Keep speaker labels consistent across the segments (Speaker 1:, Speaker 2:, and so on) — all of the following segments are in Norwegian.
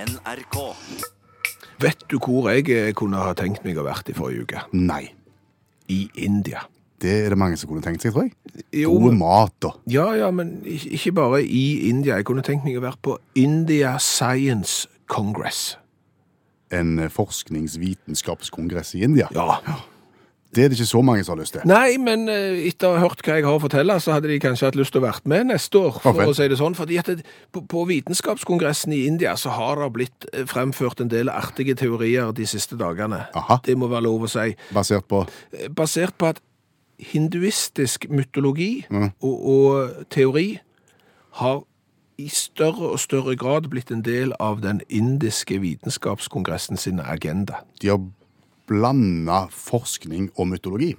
Speaker 1: NRK.
Speaker 2: Vet du hvor jeg eh, kunne ha tenkt meg å vært i forrige uke?
Speaker 3: Nei.
Speaker 2: I India.
Speaker 3: Det er det mange som kunne tenkt seg, tror jeg.
Speaker 2: Jo,
Speaker 3: God mat og
Speaker 2: ja, ja, men ik- ikke bare i India. Jeg kunne tenkt meg å være på India Science Congress.
Speaker 3: en eh, forskningsvitenskapskongress i India.
Speaker 2: Ja.
Speaker 3: Det er det ikke så mange som har lyst til.
Speaker 2: Nei, men eh, etter å ha hørt hva jeg har å fortelle, så hadde de kanskje hatt lyst til å vært med neste år, for
Speaker 3: Ok.
Speaker 2: å si det sånn. Fordi at det, på, på vitenskapskongressen i India så har det blitt eh, fremført en del artige teorier de siste dagene.
Speaker 3: Aha.
Speaker 2: Det må være lov å si.
Speaker 3: Basert på
Speaker 2: Eh, Basert på at hinduistisk mytologi og, og teori har i større og større grad blitt en del av den indiske vitenskapskongressen sin agenda.
Speaker 3: De har blanda forskning og mytologi.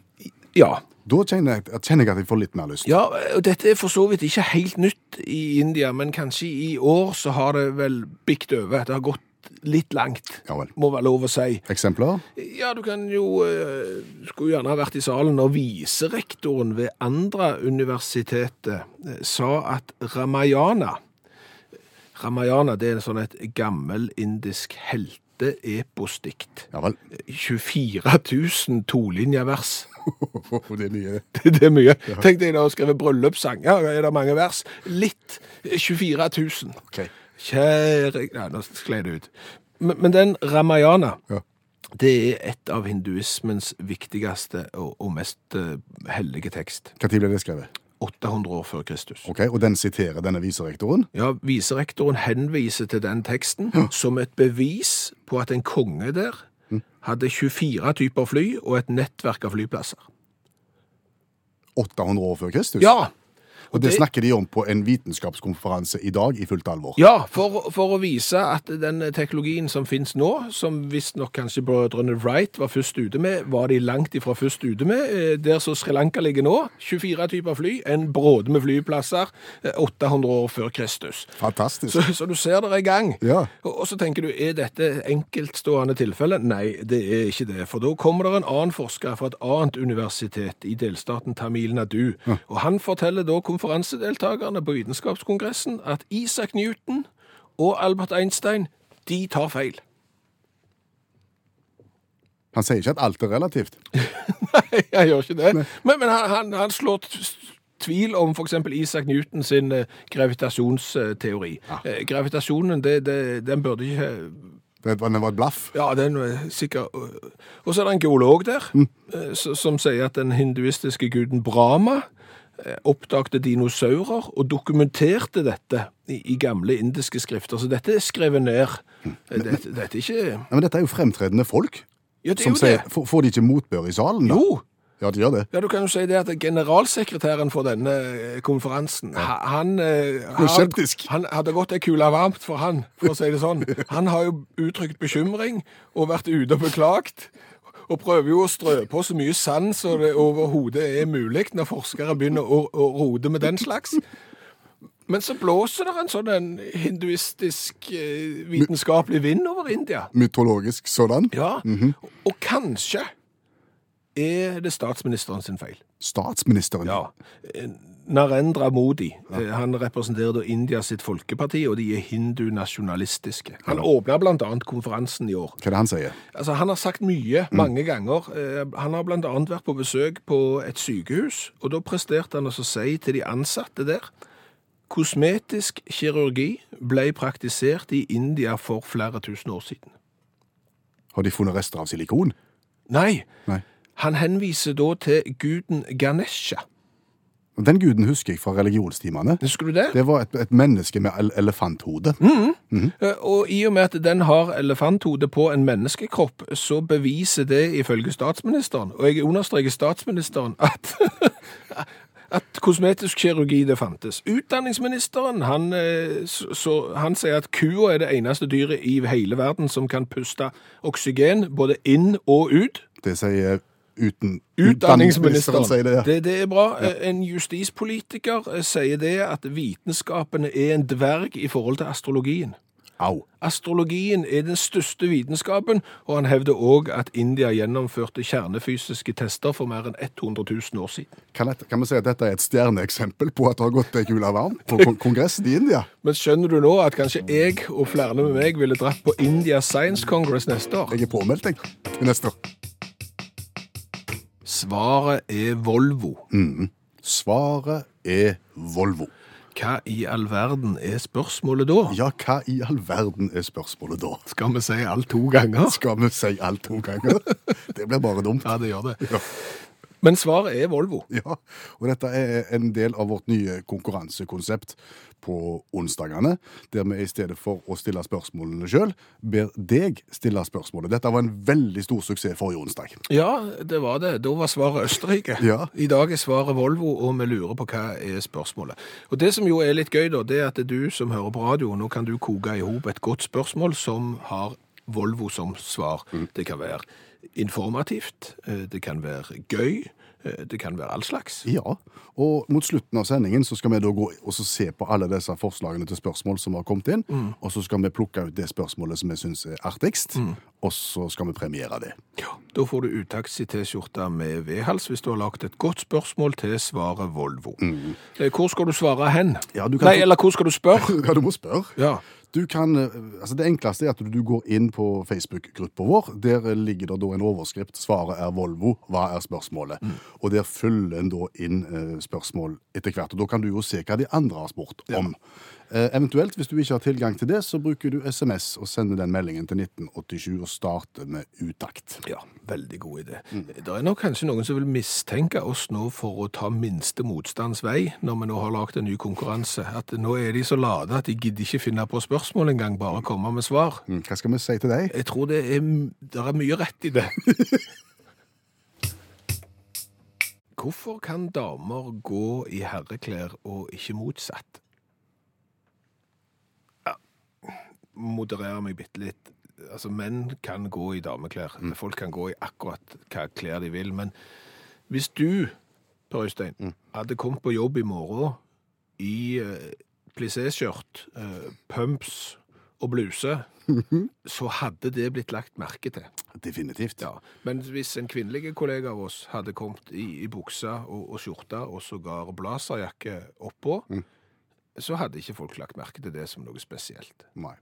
Speaker 2: Ja,
Speaker 3: Da kjenner jeg, kjenner jeg at jeg får litt mer lyst.
Speaker 2: Ja, og dette er for så vidt ikke helt nytt i India, men kanskje i år så har det vel bikt over. Det har gått litt langt,
Speaker 3: Ja vel.
Speaker 2: må være lov å si.
Speaker 3: Eksempler?
Speaker 2: Ja, du kan jo eh, Skulle gjerne ha vært i salen når viserektoren ved andre universitetet eh, sa at Ramayana Ramayana det er en sånn et gammelindisk helteeposdikt.
Speaker 3: Ja vel.
Speaker 2: 24 000 tolinjevers.
Speaker 3: Det er mye.
Speaker 2: Det, det er mye. Tenk deg da å skrive bryllupssang. Ja, er det mange vers? Litt. 24 000.
Speaker 3: Ok.
Speaker 2: Kjære Nei, nå skled det ut. Men, men den Ramayana,
Speaker 3: Ja.
Speaker 2: det er et av hinduismens viktigste og, og mest eh, hellige tekst.
Speaker 3: Når ble det skrevet?
Speaker 2: 800 år før Kristus.
Speaker 3: Ok, Og den siterer denne viserektoren?
Speaker 2: Ja, Viserektoren henviser til den teksten som et bevis på at en konge der hadde 24 typer fly og et nettverk av flyplasser.
Speaker 3: 800 år før Kristus?
Speaker 2: Ja!
Speaker 3: Og det
Speaker 2: det-
Speaker 3: snakker de om på en vitenskapskonferanse i dag i fullt alvor.
Speaker 2: Ja, for, for å vise at den teknologien som finnes nå, som visstnok kanskje brødrene Wright var først ute med, var de langt ifra først ute med. Eh, Der som Sri Lanka ligger nå, 24 typer fly, en bråde med flyplasser, eh, 800 år før Kristus.
Speaker 3: Fantastisk.
Speaker 2: Så, så du ser det er i gang.
Speaker 3: Ja.
Speaker 2: Og, og så tenker du, er dette enkeltstående tilfelle? Nei, det er ikke det. For da kommer det en annen forsker fra et annet universitet i delstaten Tamil Nadu. Og han forteller da konferansedeltakerne på Vitenskapskongressen at Isak Newton og Albert Einstein, de tar feil.
Speaker 3: Han sier ikke at alt er relativt.
Speaker 2: Nei, jeg gjør ikke det. Men, men han, han, han slår t- s- tvil om f.eks. Isak Newton sin eh, gravitasjonsteori. Eh, Gravitasjonen, det, det, den burde ikke
Speaker 3: Det var det var et blaff.
Speaker 2: Ja, den er sikkert Og så er det en geolog der eh, s- som sier at den hinduistiske guden Brahma eh, oppdagte dinosaurer og dokumenterte dette i, i gamle indiske skrifter. Så dette er skrevet ned. Eh, Dette, dette er ikke
Speaker 3: Nei, men dette er jo fremtredende folk.
Speaker 2: Ja, det er
Speaker 3: som
Speaker 2: jo det.
Speaker 3: sier, får, får de ikke motbør i salen? da?
Speaker 2: Jo!
Speaker 3: Ja, de gjør det.
Speaker 2: Ja, du kan jo si det at generalsekretæren for denne eh, konferansen, ha- han, eh,
Speaker 3: Noe
Speaker 2: har-
Speaker 3: skeptisk.
Speaker 2: han hadde gått ei kule varmt for han, for å si det sånn. Han har jo uttrykt bekymring og vært ute og beklagt. Og prøver jo å strø på så mye sand som det overhodet er mulig når forskere begynner å, å rode med den slags. Men så blåser det en sånn en hinduistisk eh, vitenskapelig vind over India.
Speaker 3: Mytologisk sådan.
Speaker 2: Ja, og, og kanskje er det statsministeren sin feil.
Speaker 3: Statsministeren.
Speaker 2: Ja. Eh, Narendra Modi eh, han representerer da India sitt folkeparti, og de er hindu-nasjonalistiske. Han åpna bl.a. konferansen i år.
Speaker 3: Hva er det han sier?
Speaker 2: Altså, Han har sagt mye mange ganger. Eh, Han har bl.a. vært på besøk på et sykehus, og da presterte han altså å si til de ansatte der Kosmetisk kirurgi ble praktisert i India for flere tusen år siden.
Speaker 3: Har de funnet rester av silikon?
Speaker 2: Nei,
Speaker 3: Nei.
Speaker 2: han henviser da til guden Ganesha.
Speaker 3: Og Den guden husker jeg fra religionstimene.
Speaker 2: Husker du det?
Speaker 3: Det var et, et menneske med el elefanthode.
Speaker 2: Eh, Og i og med at den har elefanthode på en menneskekropp, så beviser det ifølge statsministeren, og jeg understreker statsministeren, at at kosmetisk kirurgi det fantes. Utdanningsministeren han, eh, så, så, han sier at kua er det eneste dyret i hele verden som kan puste oksygen både inn og ut.
Speaker 3: Det sier uten
Speaker 2: Utdanningsministeren
Speaker 3: sier det. ja.
Speaker 2: Det, det er bra. Eh, En justispolitiker eh, sier det at vitenskapene er en dverg i forhold til astrologien.
Speaker 3: Au.
Speaker 2: Astrologien er den største vitenskapen, og han hevder òg at India gjennomførte kjernefysiske tester for mer enn 100 000 år siden.
Speaker 3: Kan, dette- kan vi si at dette er et stjerneeksempel på at det har gått ei kule varm på kon kongressen i India?
Speaker 2: Men skjønner du nå at kanskje jeg og flere med meg ville dratt på India Science Congress neste år?
Speaker 3: Jeg er påmeldt, jeg. i Neste år.
Speaker 2: Svaret er Volvo.
Speaker 3: Svaret er Volvo.
Speaker 2: Hva i all verden er spørsmålet da?
Speaker 3: Ja, hva i all verden er spørsmålet da?
Speaker 2: Skal vi si alt to ganger?
Speaker 3: Skal vi si alt to ganger? Det blir bare dumt.
Speaker 2: Ja, det gjør det.
Speaker 3: Ja.
Speaker 2: Men svaret er Volvo.
Speaker 3: Ja, og dette er en del av vårt nye konkurransekonsept på onsdagene, der vi i stedet for å stille spørsmålene sjøl, ber deg stille spørsmålet. Dette var en veldig stor suksess forrige onsdag.
Speaker 2: Ja, det var det. Da var svaret Østerrike.
Speaker 3: Ja.
Speaker 2: I dag er svaret Volvo, og vi lurer på hva er spørsmålet. Og Det som jo er litt gøy, da, det er at du som hører på radio, nå kan du koke i hop et godt spørsmål som har Volvo som svar.
Speaker 3: Mm.
Speaker 2: Det kan være informativt, eh, det kan være gøy, eh, det kan være all slags.
Speaker 3: Ja, og mot slutten av sendingen så skal vi da gå og så se på alle disse forslagene til spørsmål som har kommet inn, og så skal vi plukke ut det spørsmålet som vi syns er artigst, og så skal vi premiere det.
Speaker 2: Da får du uttaxi-T-skjorte med vedhals hvis du har lagt et godt spørsmål til svaret Volvo. Eh, Hvor skal du svare hen?
Speaker 3: Mm. Ja, du kan
Speaker 2: Nei,
Speaker 3: få-
Speaker 2: eller hvor skal du spørre?
Speaker 3: Ja, du må spørre.
Speaker 2: Ja.
Speaker 3: Du kan, eh, altså det enkleste er at du går inn på Facebook-gruppa vår. Der eh, ligger det da en overskrift 'Svaret er Volvo'. Hva er spørsmålet? Og der følger en da inn eh, spørsmål etter hvert. Og da kan du jo se hva de andre har spurt om. Eh, eventuelt, hvis du ikke har tilgang til det, så bruker du SMS og sender den meldingen til 1987 og starter med utakt.
Speaker 2: Ja, veldig god idé. Det er nok kanskje noen som vil mistenke oss nå for å ta minste motstands vei, når vi nå har lagd en ny konkurranse. At nå er de så lade at de gidder ikke finne på spørsmål engang, bare komme med svar.
Speaker 3: Mm, Hva skal vi si til deg?
Speaker 2: Jeg tror det er, m- der er mye rett i det. Hvorfor kan damer gå i herreklær og ikke motsatt? Ja, modererer meg bitte litt. Altså, menn kan gå i dameklær. Folk kan gå i akkurat hva klær de vil. Men hvis du, Per Øystein, hadde kommet på jobb i morgen i eh, plissé-skjørt, eh, pumps og bluse så hadde det blitt lagt merke til.
Speaker 3: Definitivt.
Speaker 2: Ja. Men hvis en kvinnelig kollega av oss hadde kommet i, i buksa og, og skjorta og sågar blazerjakke oppå,
Speaker 3: Mm.
Speaker 2: så hadde ikke folk lagt merke til det som noe spesielt.
Speaker 3: Nei.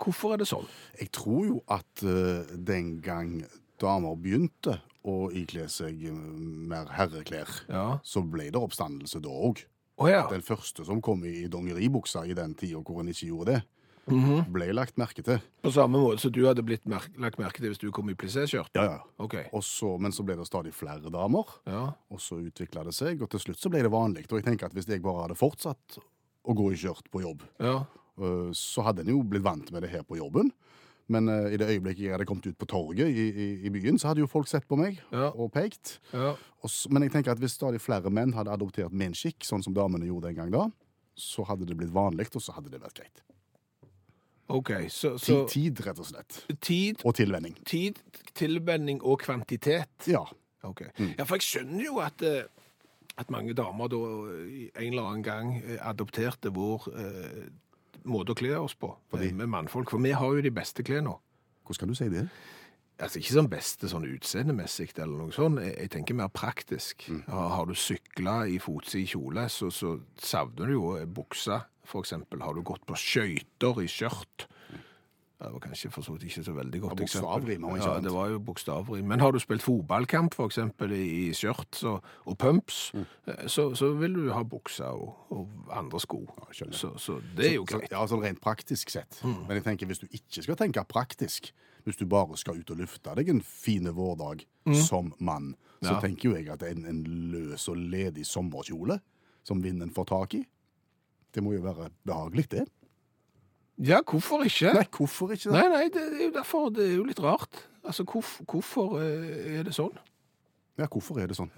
Speaker 2: Hvorfor er det sånn?
Speaker 3: Jeg tror jo at eh, den gang damer begynte å ikle seg eh, mer herreklær,
Speaker 2: Ja.
Speaker 3: så ble det oppstandelse da òg.
Speaker 2: Å ja.
Speaker 3: Den første som kom i dongeribuksa i den tida hvor en ikke gjorde det, ble lagt merke til.
Speaker 2: Mhm. På samme måte som du hadde blitt mer lagt merke til hvis du kom i plissé-skjørt.
Speaker 3: Ja, ja.
Speaker 2: OK.
Speaker 3: Og så, men så ble det stadig flere damer,
Speaker 2: Ja.
Speaker 3: og så utvikla det seg, og til slutt så ble det vanlig. Og jeg tenker at hvis jeg bare hadde fortsatt å gå i skjørt på jobb,
Speaker 2: ja.
Speaker 3: eh, så hadde en jo blitt vant med det her på jobben. Men eh, i det øyeblikket jeg hadde kommet ut på torget i, i, i byen, så hadde jo folk sett på meg
Speaker 2: Ja.
Speaker 3: og pekt.
Speaker 2: ja.
Speaker 3: Og s- men jeg tenker at hvis stadig flere menn hadde adoptert min skikk, sånn som damene gjorde den gang da, så hadde det blitt vanlig, og så hadde det vært greit.
Speaker 2: OK. Så,
Speaker 3: Ti-
Speaker 2: så
Speaker 3: Tid, rett og slett.
Speaker 2: tid,
Speaker 3: Og tilvenning.
Speaker 2: tid, tilvenning og kvantitet
Speaker 3: Ja.
Speaker 2: Ok. Ja, for jeg skjønner jo at, eh, at mange damer da eh, en eller annen gang eh, adopterte vår eh, måte å kle oss på
Speaker 3: Fordi?
Speaker 2: eh, med mannfolk. For vi har jo de beste klærne.
Speaker 3: Hvordan kan du si det?
Speaker 2: Altså ikke sånn beste sånn utseendemessig eller noe sånt. Jeg, jeg tenker mer praktisk.
Speaker 3: Mm.
Speaker 2: Har, har du sykla i fotsid kjole, så, så savner du jo eh, buksa, for eksempel. Har du gått på skøyter i skjørt? Ja, Det var kanskje for så vidt ikke så veldig godt
Speaker 3: Mm. Ja, bokstavrim, om ikke
Speaker 2: Ja,
Speaker 3: annet.
Speaker 2: det var jo bokstavrim. Men har du spilt fotballkamp, for eksempel, i, i skjørt så, og pumps,
Speaker 3: Mm.
Speaker 2: eh, så, så vil du ha buksa og, og andre sko. så, så det er jo
Speaker 3: Så-
Speaker 2: greit. Mm.
Speaker 3: Ja, sånn rent praktisk sett. Men jeg tenker hvis du ikke skal tenke praktisk, hvis du bare skal ut og lufte deg en fine vårdag som mann, så
Speaker 2: Mm. Ja.
Speaker 3: tenker jo jeg at en, en løs og ledig sommerkjole som vinden får tak i, det må jo være behagelig, det.
Speaker 2: Ja, hvorfor ikke?
Speaker 3: Nei, hvorfor ikke det?
Speaker 2: Nei, nei, det er jo derfor det er jo litt rart. Altså, hvorf, hvorfor eh, er det sånn?
Speaker 3: Ja, hvorfor er det sånn?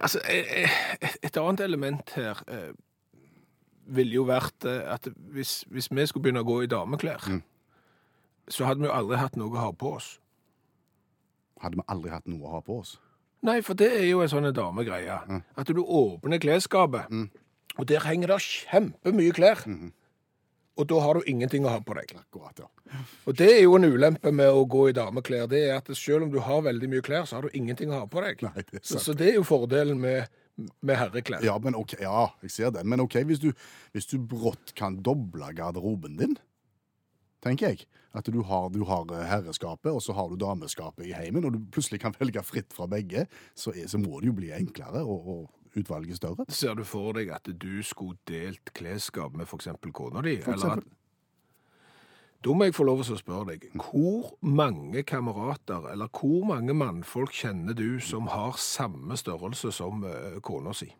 Speaker 2: Altså, eh, eh, et annet element her eh, ville jo vært eh, at hvis, hvis vi skulle begynne å gå i dameklær, så hadde vi jo aldri hatt noe å ha på oss.
Speaker 3: Hadde vi aldri hatt noe å ha på oss?
Speaker 2: Nei, for det er jo en sånn en damegreie. Mm. Mm-hmm. At du åpner klesskapet, og der henger det kjempemye klær. og da har du ingenting å ha på deg.
Speaker 3: Akkurat, ja.
Speaker 2: Og det er jo en ulempe med å gå i dameklær. Det er at selv om du har veldig mye klær, så har du ingenting å ha på deg.
Speaker 3: Nei, det er
Speaker 2: så,
Speaker 3: sant.
Speaker 2: så det er jo fordelen med, med herreklær.
Speaker 3: Ja, men ok, ja, jeg ser den. Men ok, hvis du, hvis du brått kan doble garderoben din, tenker jeg. At du har, du har eh, herreskapet, og så har du dameskapet i heimen, og du plutselig kan velge fritt fra begge, så, er, så må det jo bli enklere og, og utvalget større.
Speaker 2: Ser du for deg at du skulle delt klesskap med f.eks. kona di?
Speaker 3: For
Speaker 2: eller at-
Speaker 3: eksempel.
Speaker 2: Da må jeg få lov til å spørre deg, hvor mange kamerater eller hvor mange mannfolk kjenner du som har samme størrelse som eh, kona si?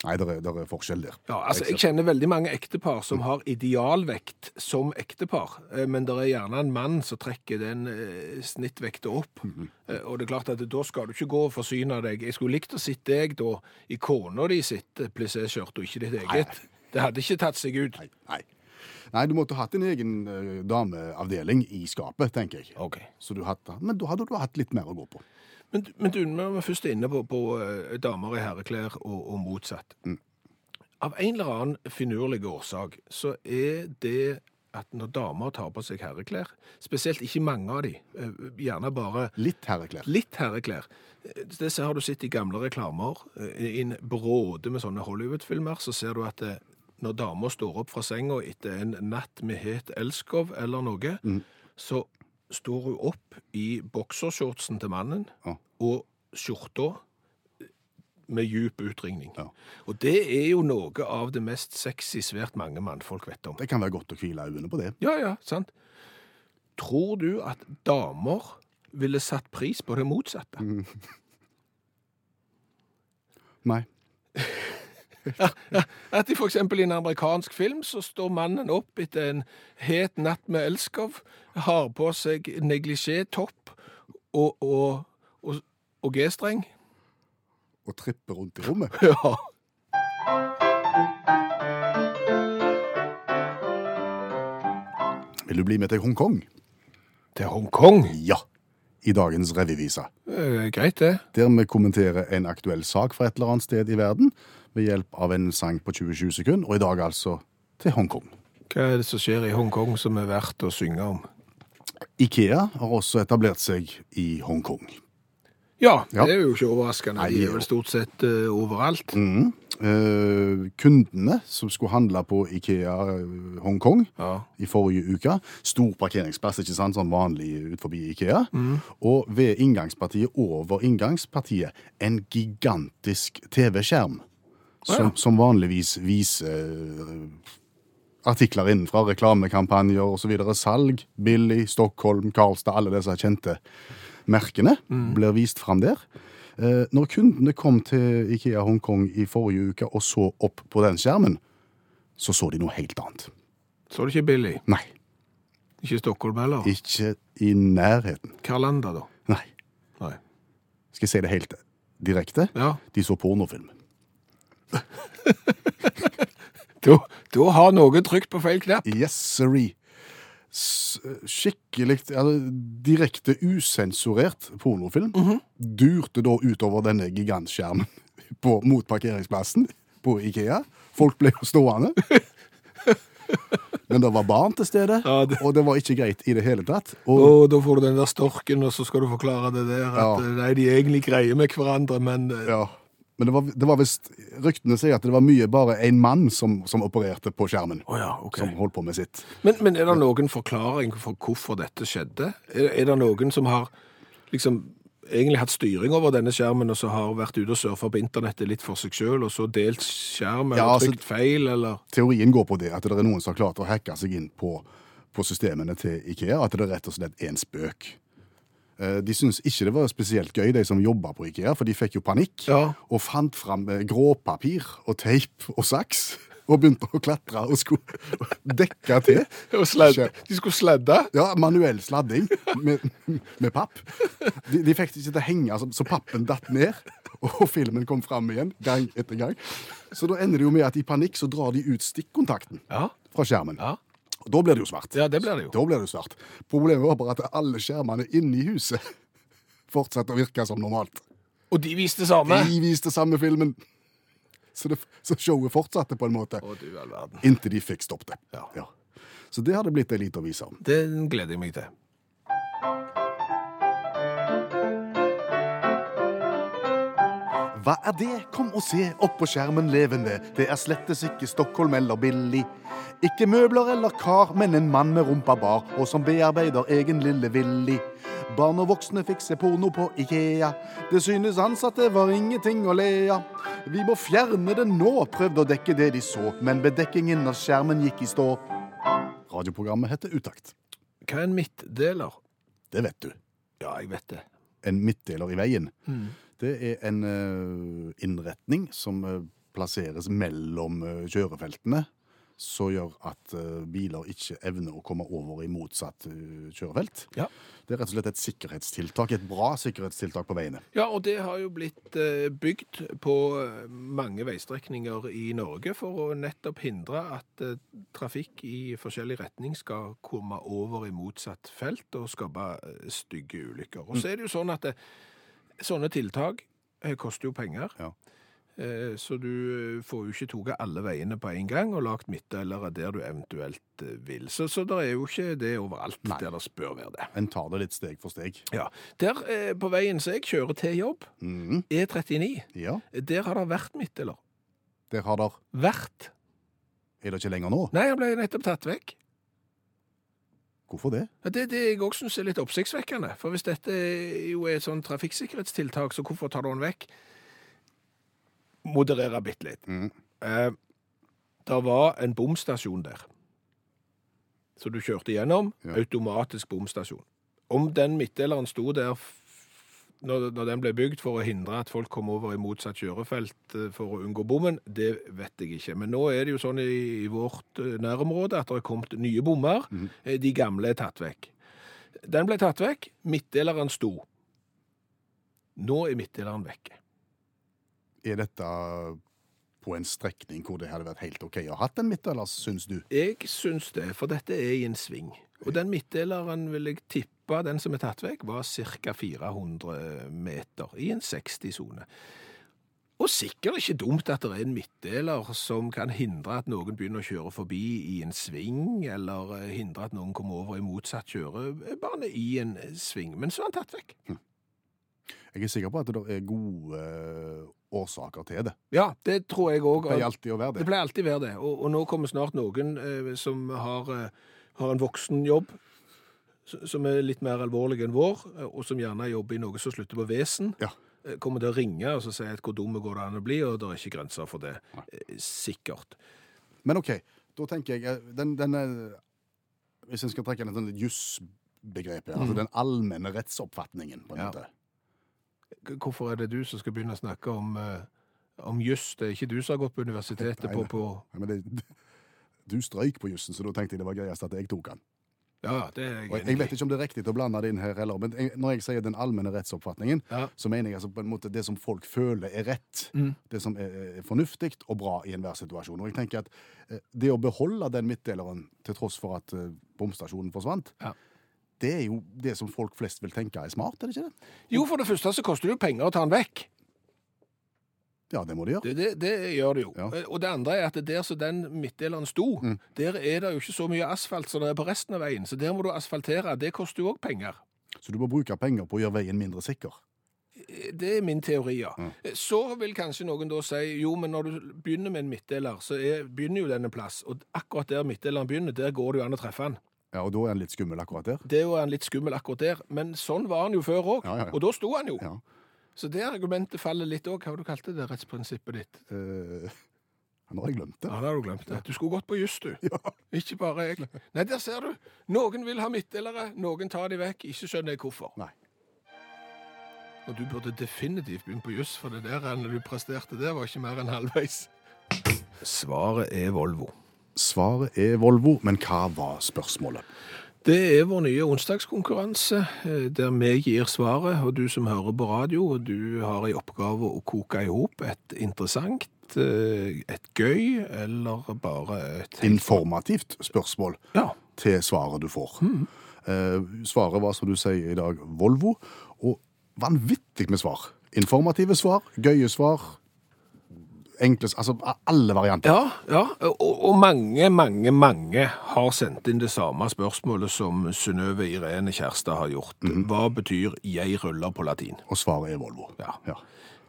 Speaker 3: Nei, det er, der er forskjell der.
Speaker 2: Ja, altså, jeg kjenner veldig mange ektepar som har idealvekt som ektepar, eh, men det er gjerne en mann som trekker den eh, snittvekta opp. Eh, Og det er klart at da skal du ikke gå og forsyne deg. Jeg skulle likt å sitte deg da i kona di sitt eh, plissé-skjørt og ikke ditt eget. Det hadde ikke tatt seg ut.
Speaker 3: Nei, nei. Nei, du måtte hatt en egen eh, dameavdeling i skapet, tenker jeg.
Speaker 2: Ok.
Speaker 3: Så du hatt, men da hadde du hatt litt mer å gå på.
Speaker 2: Men, men du, når vi først er inne på, på eh, damer i herreklær og, og motsatt. Av en eller annen finurlig årsak så er det at når damer tar på seg herreklær, spesielt ikke mange av de, eh, gjerne bare
Speaker 3: Litt herreklær.
Speaker 2: litt herreklær. Eh, Det ser- har du sett i gamle reklamer, eh, i en bråde med sånne Hollywood-filmer, så ser du at eh, når damer står opp fra senga etter en natt med het elskov eller noe, så står hun opp i boksershortsen til mannen,
Speaker 3: Ja.
Speaker 2: og skjorta med djup utringning.
Speaker 3: Ja.
Speaker 2: Og det er jo noe av det mest sexy svært mange mannfolk vet om.
Speaker 3: Det kan være godt å hvile øynene på det.
Speaker 2: Ja, ja, sant. Tror du at damer ville satt pris på det motsatte?
Speaker 3: Nei.
Speaker 2: At i for eksempel i en amerikansk film så står mannen opp etter en het natt med elskov, har på seg neglisjé, topp og, og, og, og G-streng.
Speaker 3: Å trippe rundt i rommet.
Speaker 2: Ja.
Speaker 3: Vil du bli med til Hongkong?
Speaker 2: Til Hongkong.
Speaker 3: Ja. I dagens revyvise.
Speaker 2: Eh, greit det.
Speaker 3: Der vi kommenterer en aktuell sak fra et eller annet sted i verden ved hjelp av en sang på 20-20 sekunder, og i dag altså til Hongkong.
Speaker 2: Hva er det som skjer i Hongkong som er verdt å synge om?
Speaker 3: Ikea har også etablert seg i Hongkong.
Speaker 2: Ja,
Speaker 3: Ja.
Speaker 2: det er jo ikke overraskende.
Speaker 3: Nei,
Speaker 2: De
Speaker 3: jo.
Speaker 2: er vel stort sett eh, overalt.
Speaker 3: Mhm. Eh, kundene som skulle handle på Ikea eh, Hongkong
Speaker 2: Ja.
Speaker 3: i forrige uke, stor parkeringsplass, ikke sant, sånn vanlig ut forbi Ikea, og ved inngangspartiet, over inngangspartiet, en gigantisk TV-skjerm, som,
Speaker 2: ja.
Speaker 3: som vanligvis viser eh, artikler innenfra, reklamekampanjer og så videre, salg, Billy, Stockholm, Karlstad, alle disse kjente merkene blir vist frem der. Eh, Når kundene kom til IKEA Hongkong i forrige uke og så opp på den skjermen, så så de noe helt annet.
Speaker 2: Så er det ikke billig.
Speaker 3: Nei,
Speaker 2: Ikke Stockholm heller.
Speaker 3: ikke i nærheten.
Speaker 2: Karlanda, da.
Speaker 3: Nei,
Speaker 2: Nei.
Speaker 3: skal jeg si det helt direkte?
Speaker 2: Ja.
Speaker 3: De så pornofilm.
Speaker 2: Da, da har noen trykt på feil knapp.
Speaker 3: Yes, sirree. S- Skikkelig altså, direkte usensurert pornofilm
Speaker 2: Mhm.
Speaker 3: durte da utover denne gigantskjermen på, mot parkeringsplassen på Ikea. Folk ble jo stående. Men det var barn til stede,
Speaker 2: Ja, det-
Speaker 3: og det var ikke greit i det hele tatt. Og
Speaker 2: Og da får du den der storken, og så skal du forklare det der at
Speaker 3: Ja.
Speaker 2: eh, nei, de er egentlig greie med hverandre, men eh,
Speaker 3: Ja. Men det var, det var visst Ryktene sier at det var mye bare en mann som, som opererte på skjermen.
Speaker 2: Å ja, ok.
Speaker 3: Som holdt på med sitt.
Speaker 2: men, men er det noen forklaring for hvorfor dette skjedde? Er, er det noen som har liksom egentlig hatt styring over denne skjermen, og så har vært ute og surfa på internettet litt for seg sjøl, og så delt skjermen
Speaker 3: Ja,
Speaker 2: og trykt feil, eller
Speaker 3: Teorien går på det at det er noen som har klart å hacke seg inn på, på systemene til Ikea. At det rett og slett er en spøk. Eh, De syntes ikke det var spesielt gøy, de som jobba på Ikea, for de fikk jo panikk.
Speaker 2: Ja.
Speaker 3: Og fant fram eh, gråpapir og teip og saks. Og begynte å klatre og skulle dekke til. Skjer-
Speaker 2: De skulle sladde?
Speaker 3: Ja, manuell sladding med, med papp. De, de fikk det ikke til å henge, altså, så, så pappen datt ned. Og filmen kom fram igjen gang etter gang. Så da ender det jo med at i panikk så drar de ut stikkontakten
Speaker 2: Ja.
Speaker 3: fra skjermen.
Speaker 2: Ja.
Speaker 3: Og da blir det jo svart.
Speaker 2: ja, det blir det jo.
Speaker 3: Da blir det jo svart. Problemet var bare at alle skjermene inne i huset fortsatte å virke som normalt.
Speaker 2: Og de viste det samme?
Speaker 3: De viste samme filmen. Så, det, så showet fortsatte på en måte,
Speaker 2: Å, du all verden.
Speaker 3: inntil de fikk stoppet det. Ja. Så det hadde blitt ei lita vise om.
Speaker 2: Den gleder jeg meg til.
Speaker 3: Hva er det? Kom og se opp på skjermen levende. Det er slettes ikke Stockholm eller Billy. Ikke møbler eller kar, men en mann med rumpa bar, og som bearbeider egen lille Willy. Barn og voksne fikser porno på Ikea. Det synes ansatte var ingenting å le av. Vi må fjerne det nå, prøvde å dekke det de så, men bedekkingen av skjermen gikk i stå. Radioprogrammet heter Utakt.
Speaker 2: Hva er en midtdeler?
Speaker 3: Det vet du.
Speaker 2: Ja, jeg vet det.
Speaker 3: en midtdeler i veien.
Speaker 2: Mm.
Speaker 3: Det er en eh, innretning som eh, plasseres mellom eh, kjørefeltene, som gjør at eh, biler ikke evner å komme over i motsatt eh, kjørefelt.
Speaker 2: Ja.
Speaker 3: Det er rett og slett et sikkerhetstiltak, et bra sikkerhetstiltak på veiene.
Speaker 2: Ja, og det har jo blitt eh, bygd på eh, mange veistrekninger i Norge for å nettopp hindre at eh, trafikk i forskjellig retning skal komme over i motsatt felt og skape eh, stygge ulykker. Og så er det jo sånn at eh, sånne tiltak eh, koster jo penger.
Speaker 3: Ja.
Speaker 2: Eh, Så du eh, får jo ikke toget alle veiene på en gang og lagt midtdelere der du eventuelt eh, vil. Så, så det er jo ikke det overalt der det bør være det.
Speaker 3: En tar det litt steg for steg.
Speaker 2: Ja, Der eh, på veien som jeg kjører til jobb,
Speaker 3: Mhm.
Speaker 2: E39,
Speaker 3: Ja,
Speaker 2: der har det vært midtdeler.
Speaker 3: der har der
Speaker 2: Vært.
Speaker 3: Er det ikke lenger nå?
Speaker 2: Nei, han ble nettopp tatt vekk.
Speaker 3: Hvorfor det?
Speaker 2: Ja, Det er det jeg òg syns er litt oppsiktsvekkende. For hvis dette jo er et sånn trafikksikkerhetstiltak, så hvorfor tar du den vekk? Moderere bitte litt.
Speaker 3: Mhm.
Speaker 2: Eh, det var en bomstasjon der. Så du kjørte gjennom.
Speaker 3: Ja.
Speaker 2: Automatisk bomstasjon. Om den midtdeleren sto der f- når, når den ble bygd for å hindre at folk kom over i motsatt kjørefelt eh, for å unngå bommen, det vet jeg ikke. Men nå er det jo sånn i, i vårt eh, nærområde at det er kommet nye bommer. Eh, De gamle er tatt vekk. Den ble tatt vekk, midtdeleren sto. Nå er midtdeleren vekke.
Speaker 3: Er dette på en strekning hvor det hadde vært helt OK å ha hatt en midtdeler, syns du?
Speaker 2: Jeg syns det, for dette er i en sving. Og den midtdeleren vil jeg tippe, den som er tatt vekk, var ca. 400 meter i en 60-sone. Og sikkert ikke dumt at det er en midtdeler som kan hindre at noen begynner å kjøre forbi i en sving, eller eh, hindre at noen kommer over i motsatt kjørebane i en eh, sving. Men så er han tatt vekk.
Speaker 3: Jeg er sikker på at det er gode eh, årsaker til det.
Speaker 2: Ja, det tror jeg òg.
Speaker 3: Det pleier alltid å være det.
Speaker 2: Det pleier alltid være det. Og, og nå kommer snart noen eh, som har, eh, har en voksen jobb, s- som er litt mer alvorlig enn vår, eh, og som gjerne jobber i noe som slutter på vesen.
Speaker 3: Ja.
Speaker 2: eh, Kommer til å ringe og så si at hvor dumme går det an å bli, og det er ikke grenser for det.
Speaker 3: Nei.
Speaker 2: Eh, Sikkert.
Speaker 3: Men OK, da tenker jeg eh, den, den eh, Hvis en skal trekke inn et sånt jusbegrep her, altså den allmenne rettsoppfatningen, på
Speaker 2: Mm.
Speaker 3: en
Speaker 2: Ja.
Speaker 3: måte.
Speaker 2: K- Hvorfor er det du som skal begynne å snakke om, eh, om juss? Det er ikke du som har gått på universitetet
Speaker 3: Nei,
Speaker 2: på,
Speaker 3: nei.
Speaker 2: på
Speaker 3: Nei, Men det, du strøyk på jussen, så da tenkte jeg det var greiest at jeg tok den.
Speaker 2: Ja, det er
Speaker 3: Og
Speaker 2: enig
Speaker 3: jeg,
Speaker 2: i.
Speaker 3: jeg vet ikke om det er riktig å blande det inn her heller, men jeg, når jeg sier den allmenne rettsoppfatningen,
Speaker 2: Ja.
Speaker 3: så mener jeg altså på en måte det som folk føler er rett, det som er er fornuftig og bra i enhver situasjon. Og jeg tenker at eh, det å beholde den midtdeleren til tross for at eh, bomstasjonen forsvant,
Speaker 2: Ja.
Speaker 3: det er jo det som folk flest vil tenke er smart, er det ikke det?
Speaker 2: Jo, for det første så koster det jo penger å ta den vekk.
Speaker 3: Ja, det må de gjøre.
Speaker 2: Det, det, det gjør det jo.
Speaker 3: Ja. Mm.
Speaker 2: Eh, Og det andre er at det der som den midtdeleren sto, der er det jo ikke så mye asfalt som det er på resten av veien, så der må du asfaltere. Det koster jo òg penger.
Speaker 3: Så du må bruke penger på å gjøre veien mindre sikker.
Speaker 2: Eh, Det er min teori, ja.
Speaker 3: Mm.
Speaker 2: Eh, Så vil kanskje noen da si jo, men når du begynner med en midtdeler, så er, begynner jo denne plass, og akkurat der midtdeleren begynner, der går det jo an å treffe den.
Speaker 3: Ja, og da er den litt skummel akkurat der.
Speaker 2: Det er jo en litt skummel akkurat der, men sånn var han jo før òg,
Speaker 3: Ja, ja, ja.
Speaker 2: og da sto han jo.
Speaker 3: Ja.
Speaker 2: Så det argumentet faller litt òg. Hva var det du kalte det rettsprinsippet ditt?
Speaker 3: Eh, nå har jeg glemt det.
Speaker 2: Ja, det har du glemt. det. Du skulle gått på juss, du.
Speaker 3: Ja.
Speaker 2: Ikke bare jeg. Nei, der ser du. Noen vil ha midtdelere, noen tar de vekk. Ikke skjønner jeg hvorfor.
Speaker 3: Nei.
Speaker 2: Og du burde definitivt begynne på juss, for det der enn du presterte der, var ikke mer enn halvveis. Svaret er Volvo.
Speaker 3: Svaret er Volvo, men hva var spørsmålet?
Speaker 2: Det er vår nye onsdagskonkurranse, eh, der vi gir svaret, og du som hører på radio, og du har i oppgave å koke i hop et interessant, eh, et gøy, eller bare et
Speaker 3: Informativt spørsmål
Speaker 2: Ja.
Speaker 3: til svaret du får. Eh, svaret var, som du sier i dag, Volvo, og vanvittig med svar. Informative svar, gøye svar, enklest Altså alle varianter.
Speaker 2: Ja, ja. Og, og mange, mange, mange har sendt inn det samme spørsmålet som Synnøve Irene Kjærstad har gjort. Hva betyr 'jeg ruller' på latin?
Speaker 3: Og svaret er Volvo.
Speaker 2: Ja.
Speaker 3: Ja.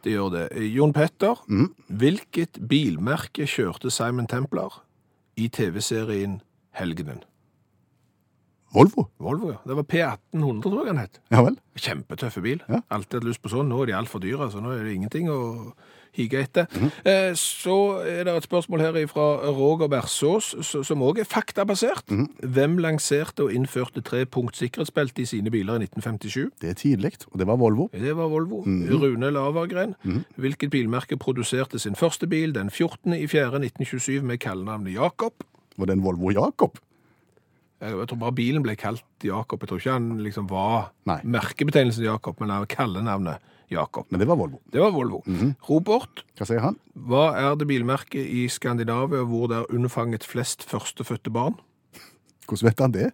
Speaker 2: Det gjør det. Eh, Jon Petter, hvilket bilmerke kjørte Simon Templar i TV-serien Helgenen?
Speaker 3: Volvo?
Speaker 2: Volvo, ja. Det var P1800, tror jeg han het.
Speaker 3: Ja vel?
Speaker 2: Kjempetøffe bil.
Speaker 3: Ja.
Speaker 2: Alltid hatt lyst på sånn. Nå er de altfor dyre, så nå er det ingenting å hige etter. Eh, Så er det et spørsmål her fra Roger Bersås, s- som òg er faktabasert. Hvem lanserte og innførte trepunkt sikkerhetsbelte i sine biler i 1957?
Speaker 3: Det er tidlig, og det var Volvo.
Speaker 2: Det var Volvo. Rune Lavergren. Hvilket bilmerke produserte sin første bil den 14. i 4. 1927 med kallenavnet Jakob? Eh,
Speaker 3: Var det en Volvo Jacob?
Speaker 2: Jeg jeg tror bare bilen ble kalt Jakob. Jeg tror ikke han liksom var
Speaker 3: Nei.
Speaker 2: merkebetegnelsen Jakob, men han kallenavnet Jakob.
Speaker 3: Men det var Volvo.
Speaker 2: Det var Volvo. Robert,
Speaker 3: Hva sier han?
Speaker 2: hva er det bilmerket i Skandinavia hvor det er unnfanget flest førstefødte barn?
Speaker 3: Hvordan vet han det?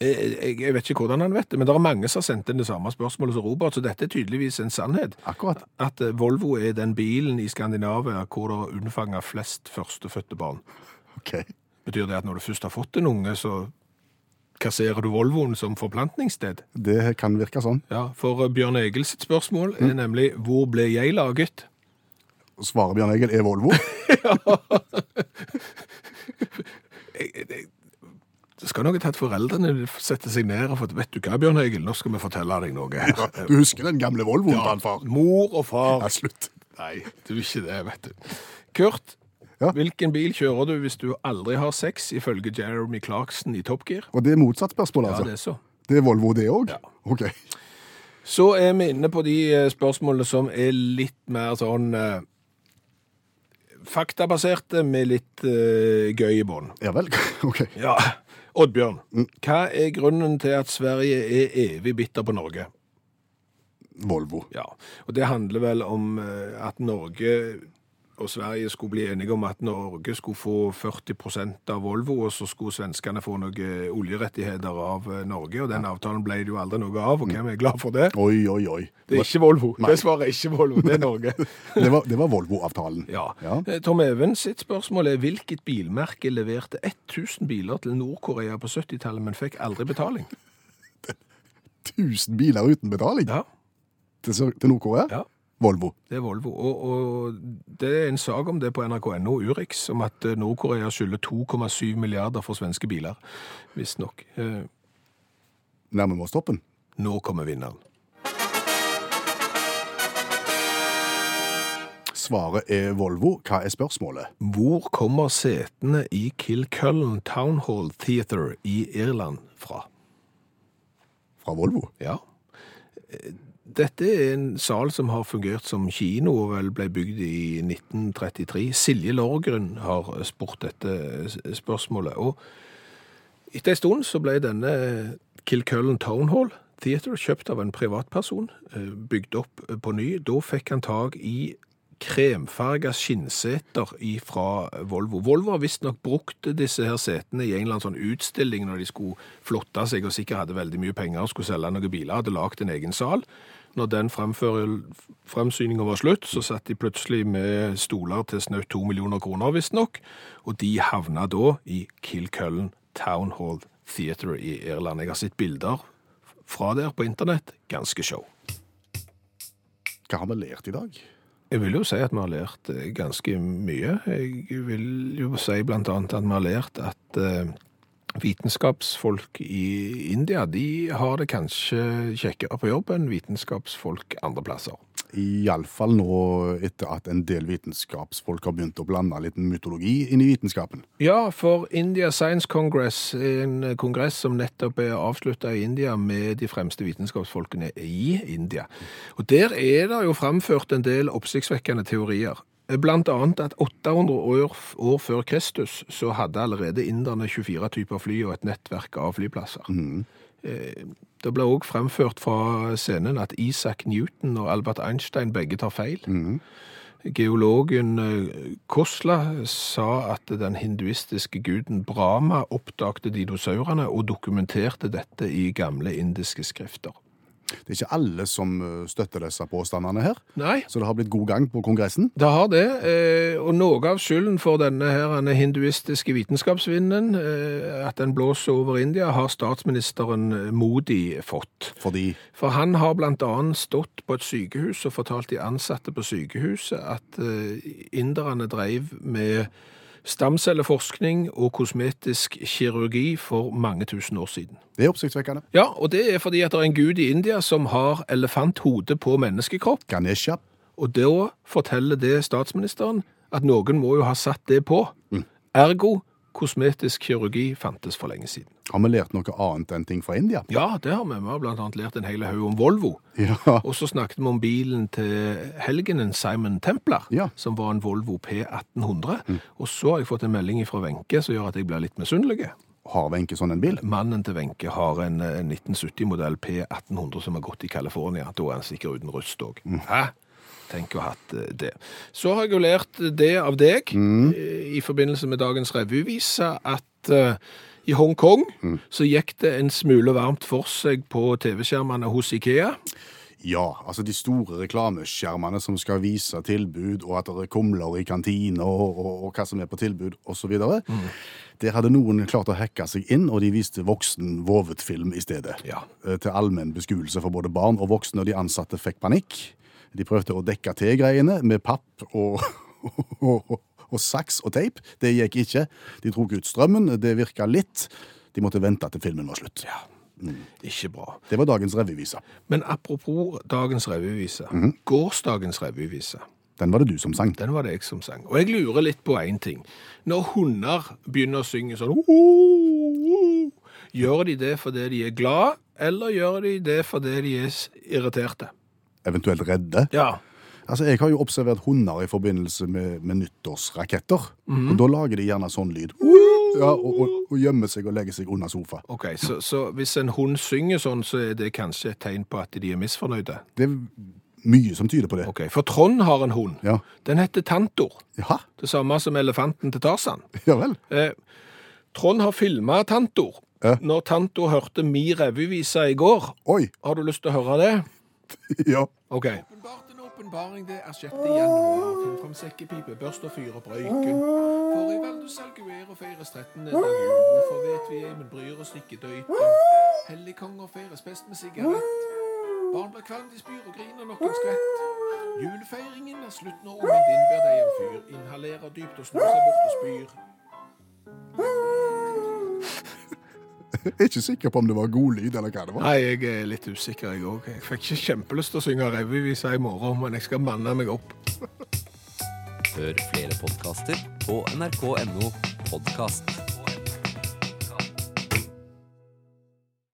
Speaker 2: Eh, Jeg, jeg vet ikke hvordan han vet det, men det er mange som har sendt inn det samme spørsmålet som Robert, så dette er tydeligvis en sannhet.
Speaker 3: Akkurat.
Speaker 2: At eh, Volvo er den bilen i Skandinavia hvor det er unnfanget flest førstefødte barn.
Speaker 3: Ok.
Speaker 2: Betyr det at når du først har fått en unge, så kasserer du Volvoen som forplantningssted?
Speaker 3: Det kan virke sånn.
Speaker 2: Ja, for eh, Bjørn Egils spørsmål er nemlig hvor ble jeg laget?
Speaker 3: Svaret Bjørn Egil er Volvo.
Speaker 2: Eh, Det skal nok ha tatt foreldrene sette seg ned og fått, vet du hva Bjørn Egil, nå skal vi fortelle deg noe her. Eh,
Speaker 3: Du husker den gamle Volvoen til han far?
Speaker 2: Mor og far.
Speaker 3: Ja, slutt.
Speaker 2: Nei, du er ikke det, vet du. Kurt,
Speaker 3: Ja?
Speaker 2: hvilken bil kjører du hvis du aldri har sex, ifølge Jeremy Clarkson i Top Gear?
Speaker 3: Og det er motsatt spørsmål,
Speaker 2: Ja,
Speaker 3: altså.
Speaker 2: det er så.
Speaker 3: Det er Volvo, det òg?
Speaker 2: Ja.
Speaker 3: OK.
Speaker 2: Så er vi inne på de eh, spørsmålene som er litt mer sånn eh, faktabaserte, med litt eh, gøy i bånn.
Speaker 3: Ja vel. OK.
Speaker 2: Ja. Oddbjørn, hva er grunnen til at Sverige er evig bitter på Norge?
Speaker 3: Volvo.
Speaker 2: Ja, og det handler vel om eh, at Norge og Sverige skulle bli enige om at Norge skulle få 40 av Volvo, og så skulle svenskene få noen oljerettigheter av eh, Norge, og den avtalen ble det jo aldri noe av, og hvem er glad for det?
Speaker 3: Oi, oi, oi.
Speaker 2: Det er ikke Volvo. Det svaret er ikke Volvo, det er Norge.
Speaker 3: Det var, det var Volvo-avtalen.
Speaker 2: Ja.
Speaker 3: Ja.
Speaker 2: Eh, Tom Even sitt spørsmål er hvilket bilmerke leverte 1000 biler til Nord-Korea på 70-tallet, men fikk aldri betaling?
Speaker 3: 1000 biler uten betaling
Speaker 2: Ja,
Speaker 3: til, Sør- til Nord-Korea?
Speaker 2: Ja.
Speaker 3: Volvo.
Speaker 2: det er Volvo. Og, og det er en sak om det på nrk.no Urix, om at eh, Nord-Korea skylder 2,7 milliarder for svenske biler. Visstnok. Eh,
Speaker 3: Nærmer vi oss toppen?
Speaker 2: Nå kommer vinneren.
Speaker 3: Svaret er Volvo. Hva er spørsmålet?
Speaker 2: Hvor kommer setene i Kilcullen Town Hall Theatre i Irland fra?
Speaker 3: Fra Volvo?
Speaker 2: Ja. Eh, Dette er en sal som har fungert som kino og vel ble bygd i 1933. Silje Lorgren har spurt dette s- spørsmålet. Og etter en stund så ble denne Kilcullen Town Hall Theatre kjøpt av en privatperson, eh, bygd opp på ny. Da fikk han tak i kremfarga skinnseter fra Volvo. Volvo har visstnok brukt disse her setene i en eller annen sånn utstilling når de skulle flotte seg og sikkert hadde veldig mye penger og skulle selge noen biler, hadde lagd en egen sal. Når den fremsyninga var slutt, så satt de plutselig med stoler til snaut to millioner kroner, visstnok, og de havna da i Kilcullen Town Hall Theatre i Irland. Jeg har sett bilder fra der på internett. Ganske show.
Speaker 3: Hva har vi lært i dag?
Speaker 2: Jeg vil jo si at vi har lært eh, ganske mye. Jeg vil jo si blant annet at vi har lært at eh, vitenskapsfolk i India, de har det kanskje kjekkere på jobb enn vitenskapsfolk andre plasser.
Speaker 3: Iallfall nå etter at en del vitenskapsfolk har begynt å blande litt mytologi inn i vitenskapen.
Speaker 2: Ja, for India Science Congress, en kongress som nettopp er avslutta i India med de fremste vitenskapsfolkene i India. Og Der er det jo framført en del oppsiktsvekkende teorier. Blant annet at 800 år, f- år før Kristus så hadde allerede inderne 24 typer fly og et nettverk av flyplasser.
Speaker 3: Mhm,
Speaker 2: Eh, Det ble òg fremført fra scenen at Isaac Newton og Albert Einstein begge tar feil.
Speaker 3: mhm.
Speaker 2: Geologen eh, Kosla sa at den hinduistiske guden Brahma oppdagte dinosaurene og dokumenterte dette i gamle indiske skrifter.
Speaker 3: Det er ikke alle som eh, støtter disse påstandene her,
Speaker 2: Nei.
Speaker 3: så det har blitt god gang på Kongressen.
Speaker 2: Det har det, eh, og noe av skylden for denne her denne hinduistiske vitenskapsvinden, eh, at den blåser over India, har statsministeren eh, Modi fått.
Speaker 3: Fordi
Speaker 2: For han har blant annet stått på et sykehus og fortalt de ansatte på sykehuset at eh, inderne drev med stamcelleforskning og kosmetisk kirurgi for mange tusen år siden.
Speaker 3: det er oppsiktsvekkende.
Speaker 2: Ja, og det er fordi at det er en gud i India som har elefanthode på menneskekropp,
Speaker 3: Ganesha.
Speaker 2: og da forteller det statsministeren at noen må jo ha satt det på. Ergo, kosmetisk kirurgi fantes for lenge siden.
Speaker 3: Har vi lært noe annet enn ting fra India?
Speaker 2: Ja, det har vi. Vi har blant annet lært en hel haug om Volvo.
Speaker 3: Ja.
Speaker 2: Og så snakket vi om bilen til helgenen Simon Templar,
Speaker 3: Ja.
Speaker 2: som var en Volvo P1800. Og så har jeg fått en melding fra Wenche som gjør at jeg blir litt misunnelig.
Speaker 3: Har Wenche sånn en bil?
Speaker 2: Mannen til Wenche har en 1970-modell P1800 som har gått i California. Da er han sikkert uten rust òg. Hæ? Tenk å ha hatt eh, det. Så har jeg jo lært det av deg eh, i forbindelse med dagens revyvise at eh, i Hongkong så gikk det en smule varmt for seg på TV-skjermene hos Ikea.
Speaker 3: Ja, altså de store reklameskjermene som skal vise tilbud, og at det er kumler i kantina, og, og, og hva som er på tilbud, osv. videre. Der hadde noen klart å hacke seg inn, og de viste voksen vovet film i stedet.
Speaker 2: Ja.
Speaker 3: Eh, Til allmenn beskuelse for både barn og voksne, og de ansatte fikk panikk. De prøvde å dekke til greiene med papp og, og, og, og saks og teip. Det gikk ikke. De tok ut strømmen, det virka litt. De måtte vente til filmen var slutt.
Speaker 2: Ikke bra.
Speaker 3: Det var dagens revyvise.
Speaker 2: Men apropos dagens revyvise. Gårsdagens revyvise,
Speaker 3: Den var det du som sang.
Speaker 2: den var det jeg som sang. Og jeg lurer litt på én ting. Når hunder begynner å synge sånn «Oh, oh», Gjør de det fordi de er glad, eller gjør de det fordi de er s- irriterte?
Speaker 3: Eventuelt redde.
Speaker 2: Ja.
Speaker 3: Altså, Jeg har jo observert hunder i forbindelse med, med nyttårsraketter. Og Da lager de gjerne sånn lyd. Ja, og, og, og gjemmer seg og legger seg under sofa.
Speaker 2: Ok, så, så hvis en hund synger sånn, så er det kanskje et tegn på at de er misfornøyde?
Speaker 3: Det er mye som tyder på det.
Speaker 2: Ok, For Trond har en hund.
Speaker 3: Ja.
Speaker 2: Den heter Tantor.
Speaker 3: Jaha,
Speaker 2: Det samme som elefanten til Tarzan.
Speaker 3: ja vel.
Speaker 2: Eh, Trond har filma Tantor.
Speaker 3: Ja.
Speaker 2: Når Tantor hørte mi revyvise i går.
Speaker 3: Oi.
Speaker 2: Har du lyst til å høre det?
Speaker 3: Ja.
Speaker 2: OK. Åpenbart en åpenbaring, det er 6. januar. Finn fram sekkepipe, børst og fyr opp røyken. For i Valdres Alguero feires 13. dag jul. Hvorfor vet vi ei, men bryr oss ikke døyten. Helligkonger feires best med sigarett. Barn blir kvalm, de spyr og griner nok en skvett. Julefeiringen er slutt når ungen din ber deg om fyr. Inhalerer dypt og snur seg bort og spyr.
Speaker 3: Jeg er ikke sikker på om det var god lyd, eller hva det var.
Speaker 2: Nei, jeg er litt usikker, jeg òg. Jeg fikk ikke kjempelyst til å synge revyvisa i morgen, men jeg skal manne meg opp.
Speaker 1: Hør flere podkaster på nrk.no podkast.